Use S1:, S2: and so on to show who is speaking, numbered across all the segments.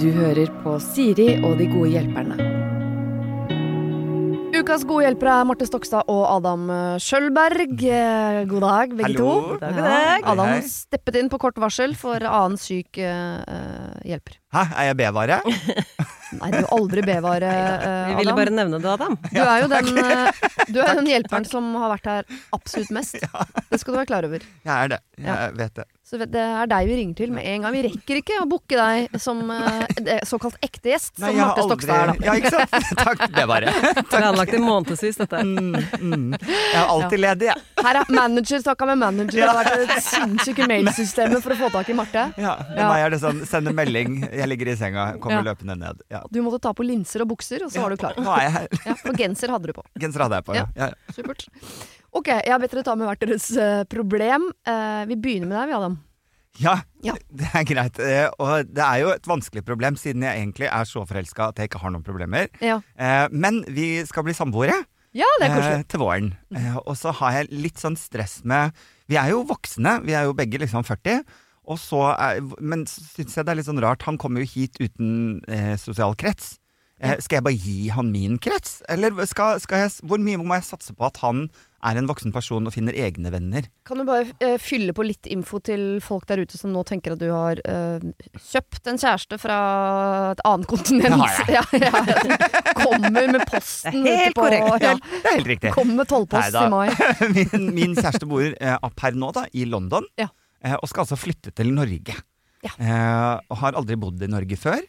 S1: Du hører på Siri og de gode hjelperne. Ukas gode hjelpere er Marte Stokstad og Adam Sjølberg. Eh, God dag, begge to.
S2: Hallo. God dag,
S1: Ja,
S2: god dag.
S1: Adam
S2: Hei, hei.
S1: steppet inn på kort varsel for annen syk eh, eh, hjelper.
S2: Hæ, er jeg B-vare?
S1: Nei, du er aldri bevare, eh,
S3: Vi ville
S1: Adam.
S3: bare nevne det, Adam.
S1: Du er jo den, eh, du er jo den hjelperen som har vært her absolutt mest. Det skal du være klar over.
S2: Jeg er det. Jeg
S1: Ja.
S2: vet det.
S1: Så det er deg vi ringer til med en gang. Vi rekker ikke å booke deg som eh, det- såkalt ekte gjest, som
S2: jeg har
S1: Marte Stokstad er, da.
S2: Ja, ikke sant? Takk, B-vare.
S3: Planlagt i månedsvis, dette.
S2: Mm, mm. Jeg er alltid ledig, jeg.
S1: Her er manager snakka med manager. Det har vært det sinnssyke mailsystemet for å få tak i Marte.
S2: Ja, med
S1: Ja.
S2: meg er det sånn sende melding, jeg ligger i senga, kommer
S1: Ja.
S2: løpende ned. Ja.
S1: Du måtte ta på linser og bukser, og så var du klar.
S2: Nå er jeg her.
S1: Ja, og genser hadde du på.
S2: Genser hadde jeg på. Ja. Ja.
S1: Supert. Ok, jeg har bedt dere ta med hvert deres eh, problem. Eh, vi begynner med deg, vi, Adam.
S2: Ja,
S1: Ja.
S2: det er greit. Eh, Og det er jo et vanskelig problem, siden jeg egentlig er så forelska at jeg ikke har noen problemer.
S1: Ja,
S2: Eh, Men vi skal bli samboere
S1: ja det er koselig. Mm.
S2: eh, til våren. Eh, Og så har jeg litt sånn stress med Vi er jo voksne, vi er jo begge liksom 40. Og så er, men syns jeg det er litt sånn rart. Han kommer jo hit uten eh, sosial krets. Eh, skal jeg bare gi han min krets? Eller skal, skal jeg, hvor mye må jeg satse på at han er en voksen person og finner egne venner?
S1: Kan du bare eh, fylle på litt info til folk der ute som nå tenker at du har eh, kjøpt en kjæreste fra et annet kontinent?
S2: Det har jeg.
S1: Ja, ja, som kommer med posten.
S3: Det er helt
S1: ute på-
S3: korrekt.
S1: Ja,
S2: Det er helt riktig.
S1: kommer med tollpost
S2: Neida.
S1: i mai.
S2: min, min kjæreste bor eh, opp her nå da, i London,
S1: Ja.
S2: eh, og skal altså flytte til Norge.
S1: Ja.
S2: Eh, og har aldri bodd i Norge før.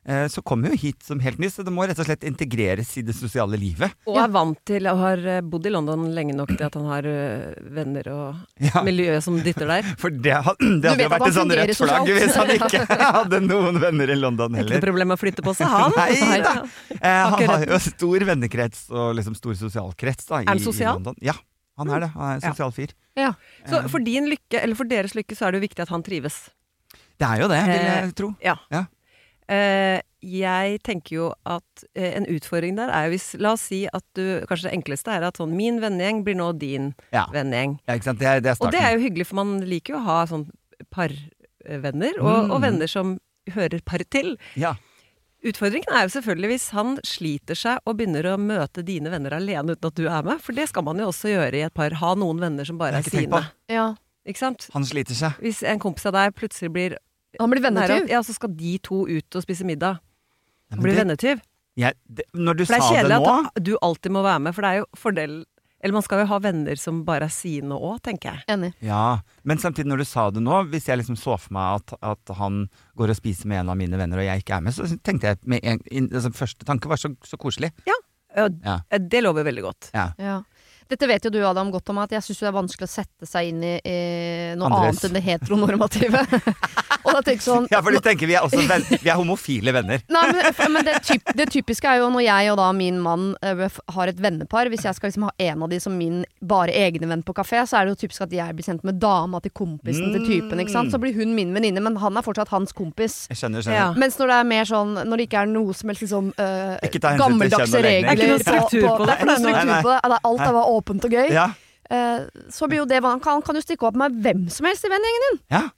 S2: Eh, så kommer jo hit som helt ny, så det må rett og slett integreres i det sosiale livet.
S3: Og er vant til og har eh, bodd i London lenge nok til at han har eh, venner og
S2: Ja.
S3: miljø som dytter der.
S2: For det, ha- det hadde
S1: vet
S2: jo
S1: at
S2: vært
S1: han
S2: et sånn
S1: fungerer
S2: rødt flagg
S1: sosialt.
S2: hvis han ikke hadde noen venner i London
S3: Ikke noe
S2: heller.
S3: problem med å flytte på seg, han.
S2: Nei da. Eh, han
S3: Akkurat.
S2: har jo stor vennekrets og liksom stor sosialkrets da, i,
S3: han
S2: i
S3: sosial?
S2: London. Ja, han er det. Han er en
S3: Ja.
S2: sosial fyr.
S1: Ja.
S3: Så for din lykke, eller for deres lykke, så er det jo viktig at han trives.
S2: Det er jo det, vil
S3: Eh,
S2: jeg tro.
S3: Ja.
S2: Ja.
S3: Eh, jeg tenker jo at eh, en utfordring der er jo hvis La oss si at du Kanskje det enkleste er at sånn min vennegjeng blir nå din
S2: Ja,
S3: vennegjeng.
S2: ja ikke sant? Det er, det er
S3: Og
S2: starten.
S3: det er jo hyggelig, for man liker jo å ha sånn parvenner, og,
S2: Mm.
S3: og venner som hører par til.
S2: ja.
S3: Utfordringen er jo selvfølgelig hvis han sliter seg og begynner å møte dine venner alene uten at du er med, for det skal man jo også gjøre i et par. Ha noen venner som bare
S2: Det har
S3: er
S2: jeg ikke tenkt
S3: sine.
S1: ja.
S3: Ikke sant?
S2: Han sliter seg.
S3: Hvis en kompis av deg plutselig blir
S1: Han blir vennetyv.
S3: ja, så skal de to ut og spise middag.
S2: Nei, men
S3: Blir
S2: det-
S3: vennetyv.
S2: Jeg, det, når du
S3: For det
S2: sa
S3: er
S2: det
S3: kjedelig
S2: nå
S3: at du alltid må være med, for det er jo fordel Eller man skal jo ha venner som bare er sine òg, tenker jeg.
S1: Enig.
S2: Ja, Men samtidig, når du sa det nå, hvis jeg liksom så for meg at, at han går og spiser med en av mine venner, og jeg ikke er med, så tenkte jeg med en, in, altså, Første tanke var så, så koselig. Ja.
S3: Eh, Det lover veldig godt.
S1: Ja. Dette vet jo du, Adam, godt om at jeg syns det er vanskelig å sette seg inn i, i noe
S2: Andres.
S1: annet enn det heteronormative. og da tenker jeg sånn
S2: Ja, for du tenker vi er også venn, vi er homofile venner.
S1: Nei, men, for- men det, typ, det typiske er jo når jeg og da min mann eh, f- har et vennepar. Hvis jeg skal liksom ha en av de som min bare egne venn på kafé, så er det jo typisk at jeg blir sendt med dama til kompisen til typen. Ikke
S2: Mm.
S1: sant? Så blir hun min venninne, men han er fortsatt hans kompis.
S2: Jeg skjønner,
S3: Ja.
S2: skjønner.
S1: Mens når det er mer sånn Når det ikke er noe som helst liksom, eh,
S2: Ikke ta hensyn til kjønn
S1: gammeldagse
S2: og legning.
S1: regler
S3: Det er ikke noe struktur på det,
S1: Det er ikke noe
S3: for
S2: er noe-
S3: det
S1: struktur på det. Det er Alt er bare åpent og gøy.
S2: Ja.
S1: Eh, så blir jo det Han kan, kan jo stikke opp med hvem som helst i vennegjengen.
S2: Ja.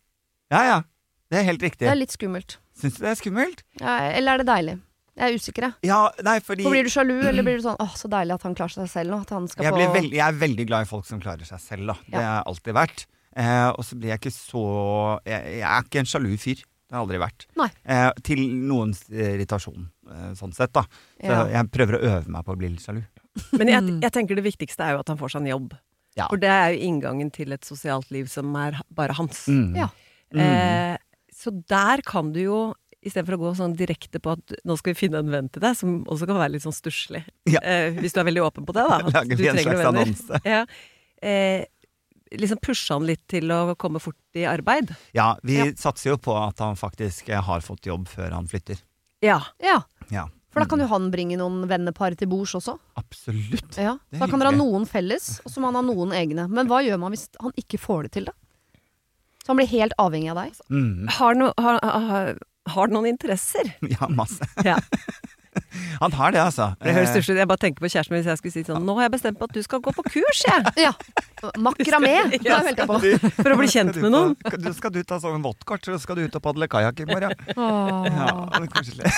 S2: ja, ja. Det er helt
S1: Det
S2: riktig.
S1: er litt skummelt.
S2: Syns du det er skummelt?
S1: Ja, eller er det deilig? Jeg er usikker, jeg.
S2: Ja, nei, fordi
S1: For Blir du sjalu, eller blir du sånn 'Åh, så deilig at han klarer seg selv nå'? At han skal
S2: jeg,
S1: få
S2: blir veld, jeg er veldig glad i folk som klarer seg selv, da. Det har jeg alltid vært. Eh, og så blir jeg ikke så jeg, jeg er ikke en sjalu fyr. Det har jeg aldri vært.
S1: Nei.
S2: Eh, til noens irritasjon, eh, sånn sett, da. Så
S1: Ja.
S2: jeg prøver å øve meg på å bli litt sjalu.
S3: Men jeg, jeg tenker det viktigste er jo at han får seg en jobb.
S2: Mm. Ja.
S3: For det er jo inngangen til et sosialt liv som er ha- bare hans.
S2: Mm.
S1: Ja.
S3: Eh, så der kan du jo Istedenfor å gå sånn direkte på at nå skal vi finne en venn til deg, som også kan være litt sånn stusslig.
S2: Ja.
S3: Eh, hvis du er veldig åpen på det, da. at
S2: Lager
S3: du
S2: vi en
S3: trenger
S2: slags
S3: venner.
S2: annonse.
S3: Ja. Eh, liksom pushe han litt til å komme fort i arbeid.
S2: Ja, vi
S3: Ja.
S2: satser jo på at han faktisk eh, har fått jobb før han flytter.
S3: Ja.
S1: Ja,
S2: Ja,
S1: for da kan jo han bringe noen vennepar til bords også.
S2: absolutt.
S1: Ja.
S2: Det er
S1: Da kan dere ha
S2: hyggelig.
S1: noen felles, og så må han ha noen egne. Men hva gjør man hvis han ikke får det til, da? Så han blir helt avhengig av deg?
S2: Mm.
S3: Har, no, har, har, har noen interesser?
S2: Ja, masse.
S3: Ja.
S2: Han har det, altså.
S3: Det høres stusslig ut. Jeg bare tenker på kjæresten min hvis jeg skulle si sånn Nå har jeg bestemt meg at du skal gå på kurs, jeg!
S1: Ja. Makramé! Det har jeg meldt meg på.
S2: Du-
S3: For å bli kjent
S2: skal
S3: med
S2: du
S3: noen.
S2: på- Du skal du ta sånn vodkort, så skal du ut og padle kajakk i morgen. Ja,
S1: Åh.
S2: det er koselig.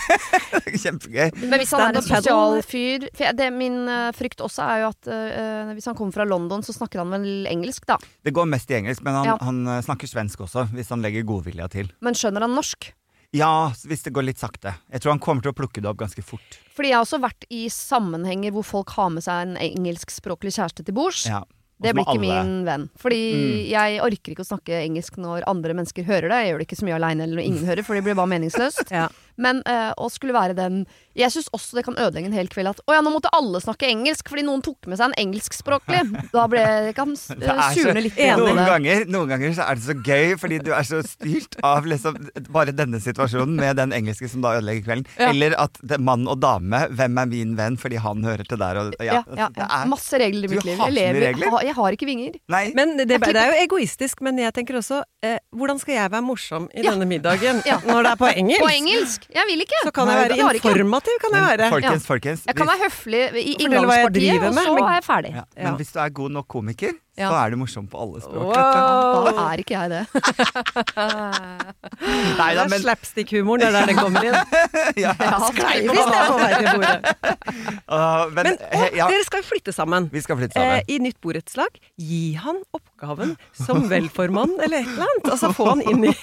S2: Kjempegøy.
S1: Men hvis han er en
S3: Stand-up
S1: sosial fyr for jeg- det, Min eh, frykt også er jo at eh, hvis han kommer fra London, så snakker han vel engelsk, da.
S2: Det går mest i engelsk, men han,
S1: Ja.
S2: han eh, snakker svensk også, hvis han legger godvilja til.
S1: Men skjønner han norsk?
S2: Ja, hvis det går litt sakte. Jeg tror han kommer til å plukke det opp ganske fort.
S1: Fordi jeg har også vært i sammenhenger hvor folk har med seg en engelskspråklig kjæreste til bords.
S2: Ja. Og
S1: Det
S2: så må
S1: blir ikke
S2: alle- Mm.
S1: min venn. Fordi jeg orker ikke å snakke engelsk når andre mennesker hører det. Jeg gjør det ikke så mye aleine eller når ingen hører, for det blir bare meningsløst.
S3: Ja.
S1: Men eh, å skulle være den Jeg syns også det kan ødelegge en hel kveld at å ja, nå måtte alle snakke engelsk fordi noen tok med seg en engelskspråklig. Da ble jeg kan s-
S2: Det er så-
S1: surne litt. grann i
S3: Enig.
S2: Noen
S1: det.
S2: ganger, noen ganger så er det så gøy, fordi du er så styrt av liksom bare denne situasjonen med den engelske som da ødelegger kvelden.
S1: Ja.
S2: Eller at det er mann og dame, hvem er min venn fordi han hører til der og
S1: Ja,
S2: ja. altså,
S1: ja,
S2: Det
S1: ja.
S2: er,
S1: Masse regler i
S2: Du
S1: mitt liv.
S2: har
S1: Jeg,
S2: så mye
S1: lever,
S2: regler.
S1: jeg, har, jeg har ikke vinger.
S2: nei,
S3: Men det, det er jo egoistisk, men jeg tenker også eh, Hvordan skal jeg være morsom i
S1: Ja.
S3: denne middagen
S1: Ja.
S3: når det er på engelsk?
S1: På engelsk! Jeg vil ikke!
S3: Så kan
S1: Nei,
S3: jeg
S1: jeg
S3: være
S1: klarer ikke.
S3: informativ, kan jeg være.
S2: folkens, folkens.
S1: Jeg kan
S2: hvis,
S1: være høflig i
S3: Fortell hva jeg
S1: inngangspartiet,
S3: driver
S1: og
S3: med,
S1: så
S3: men-
S1: er jeg ferdig.
S2: ja,
S3: Ja.
S2: men hvis du er god nok komiker, så
S1: Ja.
S2: er du morsom på alle språk.
S1: Da
S3: Wow.
S1: er ikke jeg det.
S2: Nei
S3: Det
S2: da,
S3: er
S2: men
S3: slapstick-humoren, det er der den kommer inn.
S2: ja,
S1: Ja,
S3: Hvis det er på vei til bordet.
S2: Åh, men,
S3: Men å,
S2: he- ja,
S3: dere skal jo flytte sammen.
S2: vi skal flytte
S3: Eh,
S2: sammen.
S3: I nytt borettslag, gi han oppgaven som velformann eller et eller annet. Altså få han inn i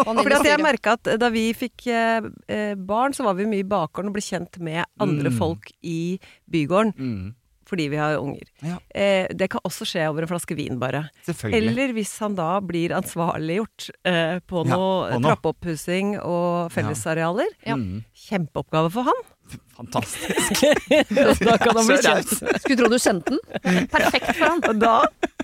S1: Man
S3: Fordi at jeg
S1: investerer.
S3: merket at da vi fikk eh, eh, barn, så var vi mye i bakgården og ble kjent med andre
S2: Mm.
S3: folk i bygården
S2: Mm,
S3: fordi vi har unger.
S2: Ja.
S3: Eh, det kan også skje over en flaske vin, bare.
S2: selvfølgelig.
S3: Eller hvis han da blir ansvarliggjort eh, på
S2: Ja,
S3: noe
S2: og nå.
S3: trappeoppussing og fellesarealer.
S1: Ja.
S2: Mm,
S3: Kjempeoppgave for han.
S2: fantastisk.
S3: da kan han bli
S2: Så raus.
S3: kjent.
S1: Skulle tro du kjente den. Perfekt for han.
S3: Og da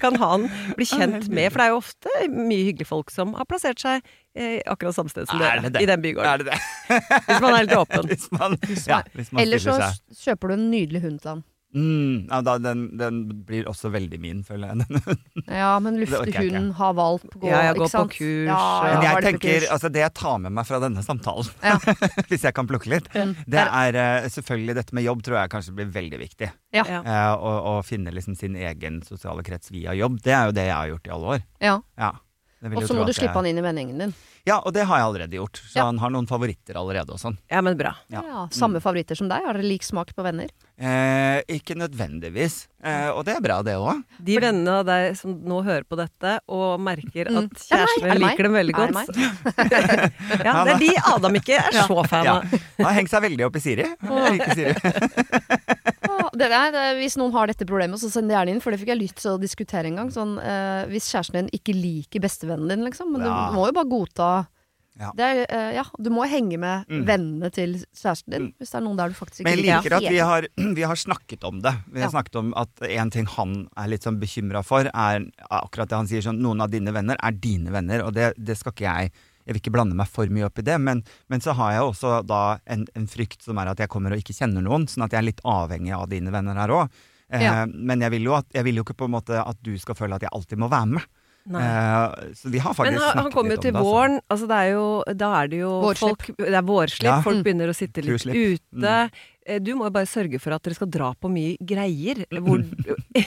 S3: kan han bli kjent med, for det er jo ofte mye hyggelige folk som har plassert seg eh, akkurat samme sted som
S2: Er det
S3: dere,
S2: det?
S3: i den
S2: Er
S3: bygården.
S2: det det?
S3: Hvis man er litt
S1: Sånn.
S3: åpen.
S2: Hvis man, ja, hvis man
S1: Eller så
S2: stiller seg.
S1: kjøper du en nydelig hund til han.
S2: Mm, ja, da, den, den blir også veldig min, føler jeg. Den
S1: Ja, men
S2: orker
S1: lufte
S2: jeg ikke.
S1: hunden, ha valp, gå,
S3: Ja, jeg går
S1: ikke
S3: på
S1: sant?
S3: kurs,
S1: Ja,
S3: og-
S2: Men
S1: ja,
S2: jeg tenker,
S1: valpekurs.
S2: altså det jeg tar med meg fra denne samtalen,
S1: Ja.
S2: hvis jeg kan plukke litt, det er eh, selvfølgelig dette med jobb tror jeg kanskje blir veldig viktig.
S1: Ja.
S3: Ja.
S2: Eh, Å å finne liksom sin egen sosiale krets via jobb, det er jo det jeg har gjort i alle år.
S1: ja.
S2: Ja. Det vil
S1: Og
S2: jo
S1: så
S2: tro
S1: må
S2: at
S1: du
S2: jeg-
S1: slippe han inn i vennegjengen din.
S2: Ja, og det har jeg allerede gjort. Så
S1: Ja.
S2: han har noen favoritter allerede og sånn.
S3: Ja, men bra.
S2: Ja.
S1: Ja, samme favoritter som deg? Har dere lik smak på venner?
S2: Eh, ikke nødvendigvis. Eh, og det er bra, det òg.
S3: De vennene av deg som nå hører på dette og merker
S1: Mm.
S3: at
S1: Det er meg,
S3: kjæresten
S1: er
S3: min
S1: det meg?
S3: liker dem veldig
S1: Er det
S3: godt. ja, det er de Adam ikke er så fan
S2: Ja.
S3: av.
S2: Han har hengt seg veldig opp i Siri. Jeg liker Siri.
S1: Ah, Det der, det, hvis noen har dette problemet, så send det gjerne inn, for det fikk jeg lyst til å diskutere en gang. Sånn, eh, hvis kjæresten din ikke liker bestevennen din, liksom. Men
S2: Ja.
S1: du må jo bare godta
S2: Ja.
S1: det er, eh, ja, Du må henge med
S2: Mm.
S1: vennene til kjæresten din, hvis det er noen der du faktisk ikke
S2: Men jeg liker at vi
S1: helt.
S2: har, vi har snakket om det. Vi har
S1: Ja.
S2: snakket om at en ting han er litt sånn bekymra for, er akkurat det han sier sånn Noen av dine venner er dine venner, og det, det skal ikke jeg Jeg vil ikke blande meg for mye opp i det. Men, men så har jeg også da en, en frykt som er at jeg kommer og ikke kjenner noen, sånn at jeg er litt avhengig av dine venner her òg. Eh,
S1: Ja.
S2: Men jeg vil, jo at, jeg vil jo ikke på en måte at du skal føle at jeg alltid må være med.
S3: Nei.
S2: Eh, så vi har
S3: Men
S2: faktisk
S3: han, han
S2: snakket
S3: kommer jo
S2: litt om
S3: til
S2: det. altså.
S3: våren. Altså det er jo, da er det jo
S1: Vårslipp.
S3: folk Det er vårslipp,
S2: Ja. Mm.
S3: folk
S1: Mm.
S3: begynner å sitte litt
S2: Kuslipp.
S3: ute. Eh, Du må jo bare sørge for at dere skal dra på mye greier. Hvor, nei,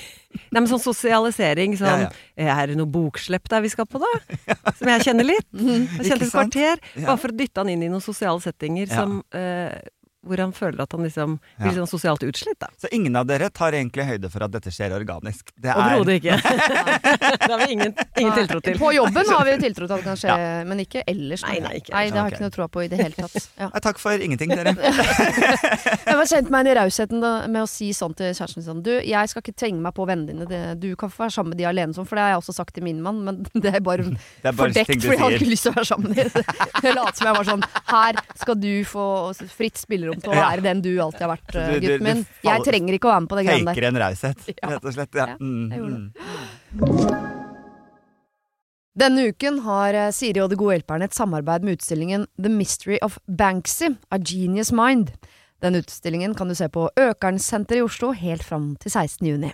S3: men sånn sosialisering. Sånn,
S2: Ja,
S3: eh, Er det noe bokslepp der vi skal på, da? Som jeg kjenner litt. Jeg
S2: Ikke
S3: kjente et
S2: sant?
S3: kvarter.
S2: Ja.
S3: Bare for å dytte han inn i noen sosiale settinger
S2: Ja.
S3: som eh, hvor han føler at han liksom
S2: Ja.
S3: blir litt sånn sosialt utslitt, da.
S2: Så ingen av dere tar egentlig høyde for at dette skjer organisk. Det er-
S3: Overhodet ikke. det har vi ingen, ingen tiltro til.
S1: På jobben har vi jo tiltro til at det kan skje, men ikke ellers.
S3: Nei, nei, ikke
S1: det har jeg
S2: Ok.
S1: ikke noe tro på i det hele tatt. Ja.
S2: Nei, Takk for ingenting, dere.
S1: Jeg har kjent meg inn i rausheten da- med å si sånn til kjæresten min sånn Du, jeg skal ikke trenge meg på vennene dine. det- Du kan få være sammen med de alene sånn, for det har jeg også sagt til min mann, men det er bare,
S2: Det er bare ting
S1: fordekt,
S2: du
S1: for jeg har
S2: sier.
S1: ikke lyst til å være sammen med dem. Jeg later som jeg var sånn Her skal du få fritt spillerom til å
S2: Ja.
S1: være den du alltid har vært, eh,
S2: Så du- du-
S1: gutten
S2: du
S1: min.
S2: fall-
S1: Jeg trenger ikke å være med på det greiene der.
S2: Faker en raushet,
S1: Ja.
S2: rett og slett. Ja.
S1: Ja,
S2: Mm,
S1: jeg gjorde
S2: mm.
S1: Denne uken har eh, Siri og De gode hjelperne et samarbeid med utstillingen The Mystery of Banksy, A Genius Mind. Den utstillingen kan du se på Økernsenteret i Oslo helt fram til 16. juni.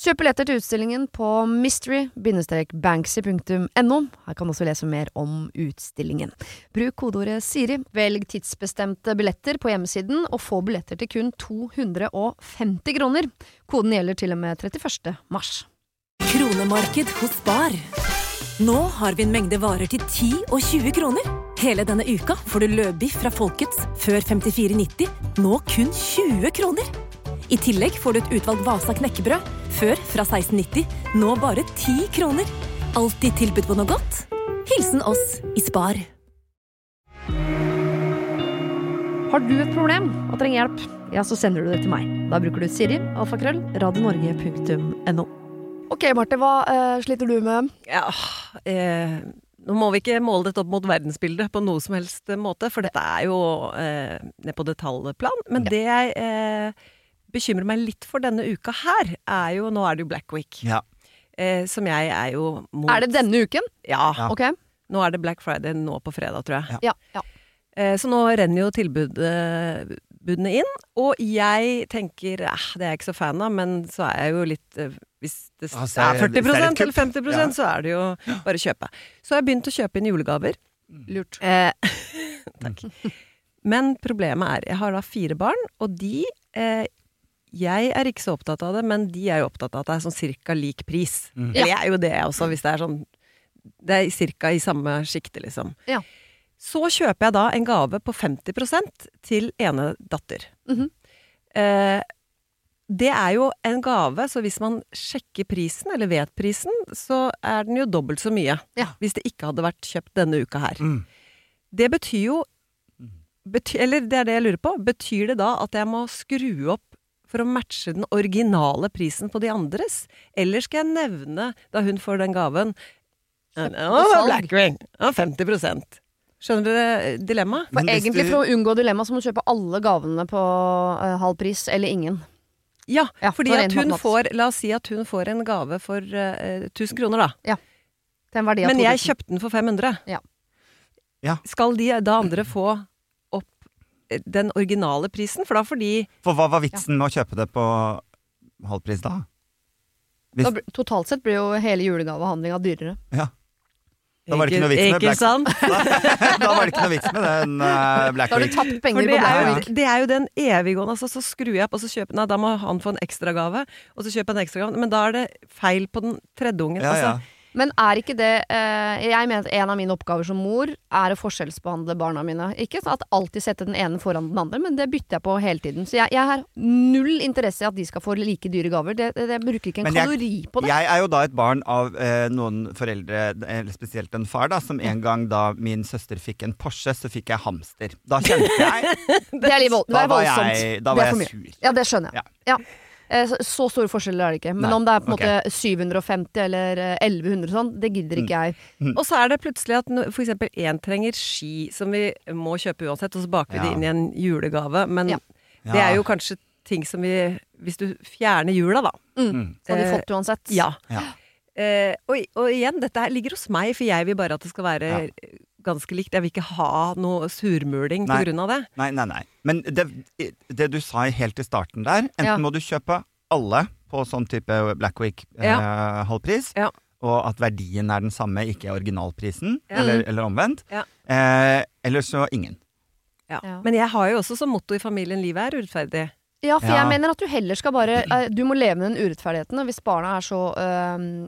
S1: Kjøp billetter til utstillingen på mystery-banksy.no. Her kan du også lese mer om utstillingen. Bruk kodeordet Siri, velg tidsbestemte billetter på hjemmesiden, og få billetter til kun 250 kroner. Koden gjelder til og med 31. mars.
S4: Kronemarked hos Spar. Nå har vi en mengde varer til 10 og 20 kroner. Hele denne uka får du løbiff fra Folkets før 54,90, nå kun 20 kroner. I tillegg får du et utvalgt Vasa knekkebrød, før fra 16,90, nå bare 10 kroner. Alltid tilbud på noe godt. Hilsen oss i Spar.
S1: Har du et problem og trenger hjelp, ja, så sender du det til meg. Da bruker du Siri, alfakrøll, radionorge.no. Ok, Marte, hva eh, sliter du med?
S3: Ja, eh, nå må vi ikke måle dette opp mot verdensbildet på noe som helst eh, måte, for dette er jo eh, ned på detaljplan. Men det jeg eh, bekymrer meg litt for denne uka her, er jo Nå er det jo Black Week,
S2: Ja.
S3: eh, som jeg er jo mot.
S1: Er det denne uken?
S3: Ja.
S2: Ja.
S1: Ok.
S3: Nå er det Black Friday nå på fredag, tror jeg.
S2: Ja.
S1: Ja, ja.
S3: Eh, Så nå renner jo tilbudene inn. Og jeg tenker eh, det er jeg ikke så fan av, men så er jeg jo litt eh, Hvis det s-
S2: Altså,
S3: er 40
S2: hvis det er et kupp.
S3: eller 50
S2: Ja.
S3: så er det jo bare å kjøpe. Så har jeg begynt å kjøpe inn julegaver.
S1: Lurt.
S3: Eh, Takk. Men problemet er Jeg har da fire barn, og de eh, Jeg er ikke så opptatt av det, men de er jo opptatt av at det er sånn cirka lik pris.
S2: Mm.
S3: Eller jeg er jo det også, hvis det er sånn Det er cirka i samme sjikte, liksom.
S1: Ja.
S3: Så kjøper jeg da en gave på 50 til ene datter.
S1: Mhm.
S3: eh, det er jo en gave, så hvis man sjekker prisen, eller vet prisen, så er den jo dobbelt så mye.
S1: Ja.
S3: Hvis det ikke hadde vært kjøpt denne uka her.
S2: Mm.
S3: Det betyr jo bety, Eller det er det jeg lurer på. Betyr det da at jeg må skru opp for å matche den originale prisen på de andres? Eller skal jeg nevne, da hun får den gaven
S1: salg.
S3: Å, Blackwing! Å, 50 Skjønner dere eh, dilemmaet?
S1: For
S2: Men hvis
S1: egentlig
S2: du-
S1: For å unngå dilemma så må du kjøpe alle gavene på eh, halv pris, eller ingen.
S3: Ja,
S1: Ja,
S3: fordi
S1: for en
S3: at hun
S1: matematisk.
S3: får La oss si at hun får en gave for eh, 1000 kroner, da.
S1: Til en verdi av
S3: Men jeg
S1: 2000.
S3: kjøpte den for 500.
S1: Ja.
S2: Ja.
S3: Skal de da andre få opp eh, den originale prisen? For da får de
S2: For hva var vitsen med å kjøpe det på halvpris da?
S1: Da blir- Totalt sett blir jo hele julegavehandlinga dyrere.
S2: Ja. Da var det ikke noe vits med Black-
S3: sant?
S2: da var det ikke noe vits med den eh, Black
S1: Da har du
S2: Week.
S1: tapt penger
S3: For
S1: på
S3: det er,
S1: Black
S3: jo,
S1: Week.
S3: det er jo den eviggående. Altså, så skrur jeg opp, og så kjøper Nei, da må han få en ekstragave, og så kjøper jeg en ekstragave. Men da er det feil på den tredje ungen.
S2: Ja, ja.
S3: Altså,
S1: Men er ikke det eh, Jeg mener at en av mine oppgaver som mor er å forskjellsbehandle barna mine. Ikke sånn at alltid sette den ene foran den andre, men det bytter jeg på hele tiden. Så jeg, jeg har null interesse i at de skal få like dyre gaver. Det, det, jeg bruker ikke en
S2: Men jeg-
S1: kalori på det.
S2: Jeg er jo da et barn av eh, noen foreldre, eller spesielt en far, da, som en gang da min søster fikk en Porsche, så fikk jeg hamster. Da kjente jeg
S1: det er litt vold, det
S2: Da
S1: er
S2: var
S1: voldsomt.
S2: jeg, da
S1: Det er
S2: var
S1: for
S2: jeg
S1: mye.
S2: sur.
S1: Ja, det skjønner jeg.
S2: Ja.
S1: Ja. Eh, Så, så store forskjeller er det ikke. Men
S2: Nei,
S1: om det er på en
S2: ok.
S1: måte 750 eller eh, 1100 sånn, det gidder
S2: Mm.
S1: ikke jeg.
S3: Og så er det plutselig at no- for eksempel én trenger ski, som vi må kjøpe uansett, og så baker vi
S2: Ja.
S3: det inn i en julegave. Men
S1: Ja.
S3: det er
S2: Ja.
S3: jo kanskje ting som vi Hvis du fjerner jula, da.
S1: Så hadde de
S3: Eh,
S1: fått uansett.
S2: Ja.
S3: Eh, og, og igjen, dette her ligger hos meg, for jeg vil bare at det skal være
S2: Ja.
S3: ganske likt. Jeg vil ikke ha noe surmuling på
S2: Nei.
S3: grunn av det.
S2: Nei, nei, nei. Men det, det du sa helt i starten der, enten
S1: Ja.
S2: må du kjøpe alle på sånn type Black Week eh, halvpris.
S3: Ja.
S2: Og at verdien er den samme, ikke originalprisen,
S3: Ja.
S2: eller, eller omvendt.
S3: Ja.
S2: Eh, eller så ingen.
S3: Ja.
S1: Ja.
S3: Men jeg har jo også som motto i familien 'livet er urettferdig'.
S1: Ja, for
S2: Ja.
S1: jeg mener at du heller skal bare eh, Du må leve med den urettferdigheten, og hvis barna er så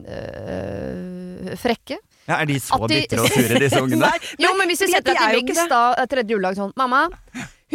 S1: øh, øh, frekke
S2: Ja, er de så
S1: At de-
S2: bitre og sure, disse ungene?
S1: Jo, men hvis vi
S3: fordi
S1: setter
S3: at de
S1: deg
S3: er jo
S1: til
S3: ikke
S1: veggs da eh, tredje juledag sånn Mamma,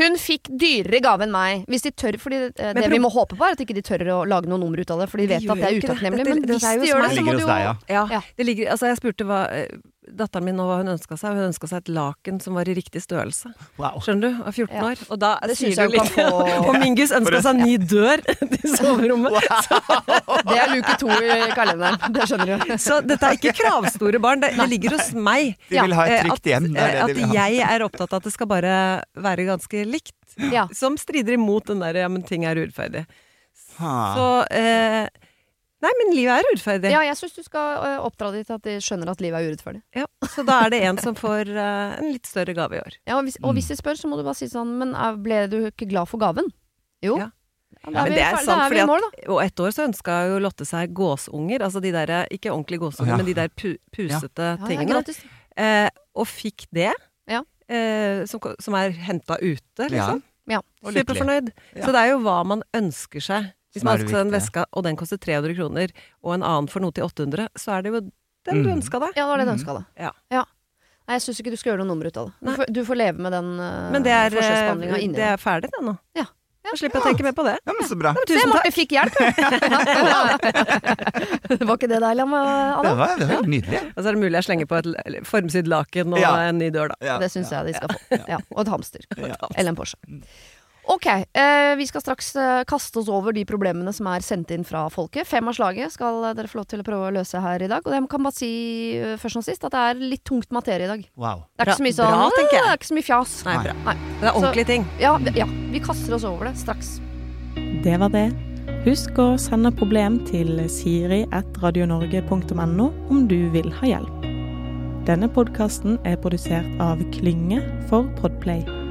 S1: hun fikk dyrere gave enn meg. Hvis de tør, fordi eh,
S3: Men
S1: Det
S3: pro-
S1: vi må håpe på, er at ikke de tør å lage noe nummer ut av det, for de
S3: De
S1: vet at det
S3: gjør
S1: er
S3: jo ikke det.
S1: utakknemlig.
S3: Dette-
S1: Men
S3: dette
S1: hvis
S3: er jo
S1: de
S3: hos
S1: gjør
S2: meg.
S1: det, så må
S2: Ligger
S1: du
S2: hos
S1: jo
S2: deg, ja.
S3: Ja,
S1: Ja.
S3: Det ligger, altså jeg spurte hva, eh, datteren min nå hva hun ønska seg, og hun ønska seg et laken som var i riktig størrelse.
S2: Wow.
S3: Skjønner du? Av 14
S1: Ja.
S3: år. Og da
S1: Det
S3: sier
S1: synes
S3: du
S1: jeg
S3: litt.
S1: kan få-
S3: Og Mingus ønska
S2: For
S3: seg ny dør til soverommet. Så,
S1: Det er luke to i kalenderen. Det skjønner du.
S3: så dette er ikke kravstore barn, det, det ligger hos meg.
S2: De vil ha et
S3: Eh,
S2: trygt hjem, det er det
S3: eh,
S2: de vil
S3: At
S2: ha.
S3: jeg er opptatt av at det skal bare være ganske likt.
S1: Ja.
S3: Som strider imot den der 'ja, men ting er urettferdig'.
S2: Ha.
S3: Så eh, Nei, men livet er urettferdig.
S1: ja, jeg syns du skal eh, oppdra dem til at de skjønner at livet er urettferdig.
S3: Ja, så da er det en som får eh, en litt større gave i år.
S1: Ja, og, hvis, og
S2: Mm.
S1: hvis de spør, så må du bare si sånn Men eh, ble du ikke glad for gaven? Jo.
S3: Ja.
S1: Ja. da
S3: Men
S1: er vi,
S3: det er
S1: ferdig-
S3: sant,
S1: da er vi
S3: fordi
S1: i mål, da.
S3: Og ett år så ønska jo Lotte seg gåsunger, altså de der, ikke ordentlige gåsunger,
S2: Å, ja.
S3: men de der pu pusete
S1: Ja, det er
S3: tingene.
S1: gratis.
S3: Eh, og fikk det,
S1: Ja.
S3: eh, som, ko- som er henta
S2: Ja.
S3: ute, liksom.
S1: Ja.
S2: Og lykkelig.
S3: Superfornøyd.
S2: Ja.
S3: Så det er jo hva man ønsker seg. Hvis
S2: Som
S3: man
S2: er det
S3: ønsker seg den
S2: viktige.
S3: veska, og den koster 300 kroner, og en annen for noe til 800, så er det jo den du
S2: Mm.
S3: ønska deg.
S1: Ja, det var det du ønska deg.
S3: Ja.
S1: Nei, jeg syns ikke du skal gjøre noe nummer ut av det. Du
S3: Nei.
S1: får, du får leve med den uh,
S3: Men det er, eh,
S1: forskjellsbehandlinga inni
S3: det er ferdig, det nå.
S1: Ja. Ja.
S3: Da slipper jeg å tenke mer på det.
S2: Ja, men så bra.
S3: Nei, men
S1: Se,
S3: tusen takk.
S1: Marte fikk hjelp! det var ikke det deilig,
S2: Det
S1: Anna?
S2: var, det var helt nydelig.
S3: Og så er det mulig jeg slenger på et l- formsydd laken og
S2: Ja.
S3: en ny dør, da.
S2: Ja.
S1: Det syns jeg de skal få. Ja, og et hamster.
S2: Ja.
S1: Eller en Porsche.
S3: Mm.
S1: Ok, eh, vi skal straks eh, kaste oss over de problemene som er sendt inn fra folket. Fem av slaget skal eh, dere få lov til å prøve å løse her i dag. Og jeg kan bare si eh, først og sist at det er litt tungt materie i dag.
S2: Wow.
S1: Det er
S3: Bra-
S1: ikke så mye sånn
S3: bra, tenker jeg.
S1: «Åh, Det er ikke så mye fjas.
S3: Nei,
S2: Nei.
S3: bra.
S1: Nei.
S3: Det er ordentlige ting.
S1: Ja, vi- ja, vi kaster oss over det straks.
S5: Det var det. Husk å sende problem til siri.radionorge.no om du vil ha hjelp. Denne podkasten er produsert av Klynge for Podplay.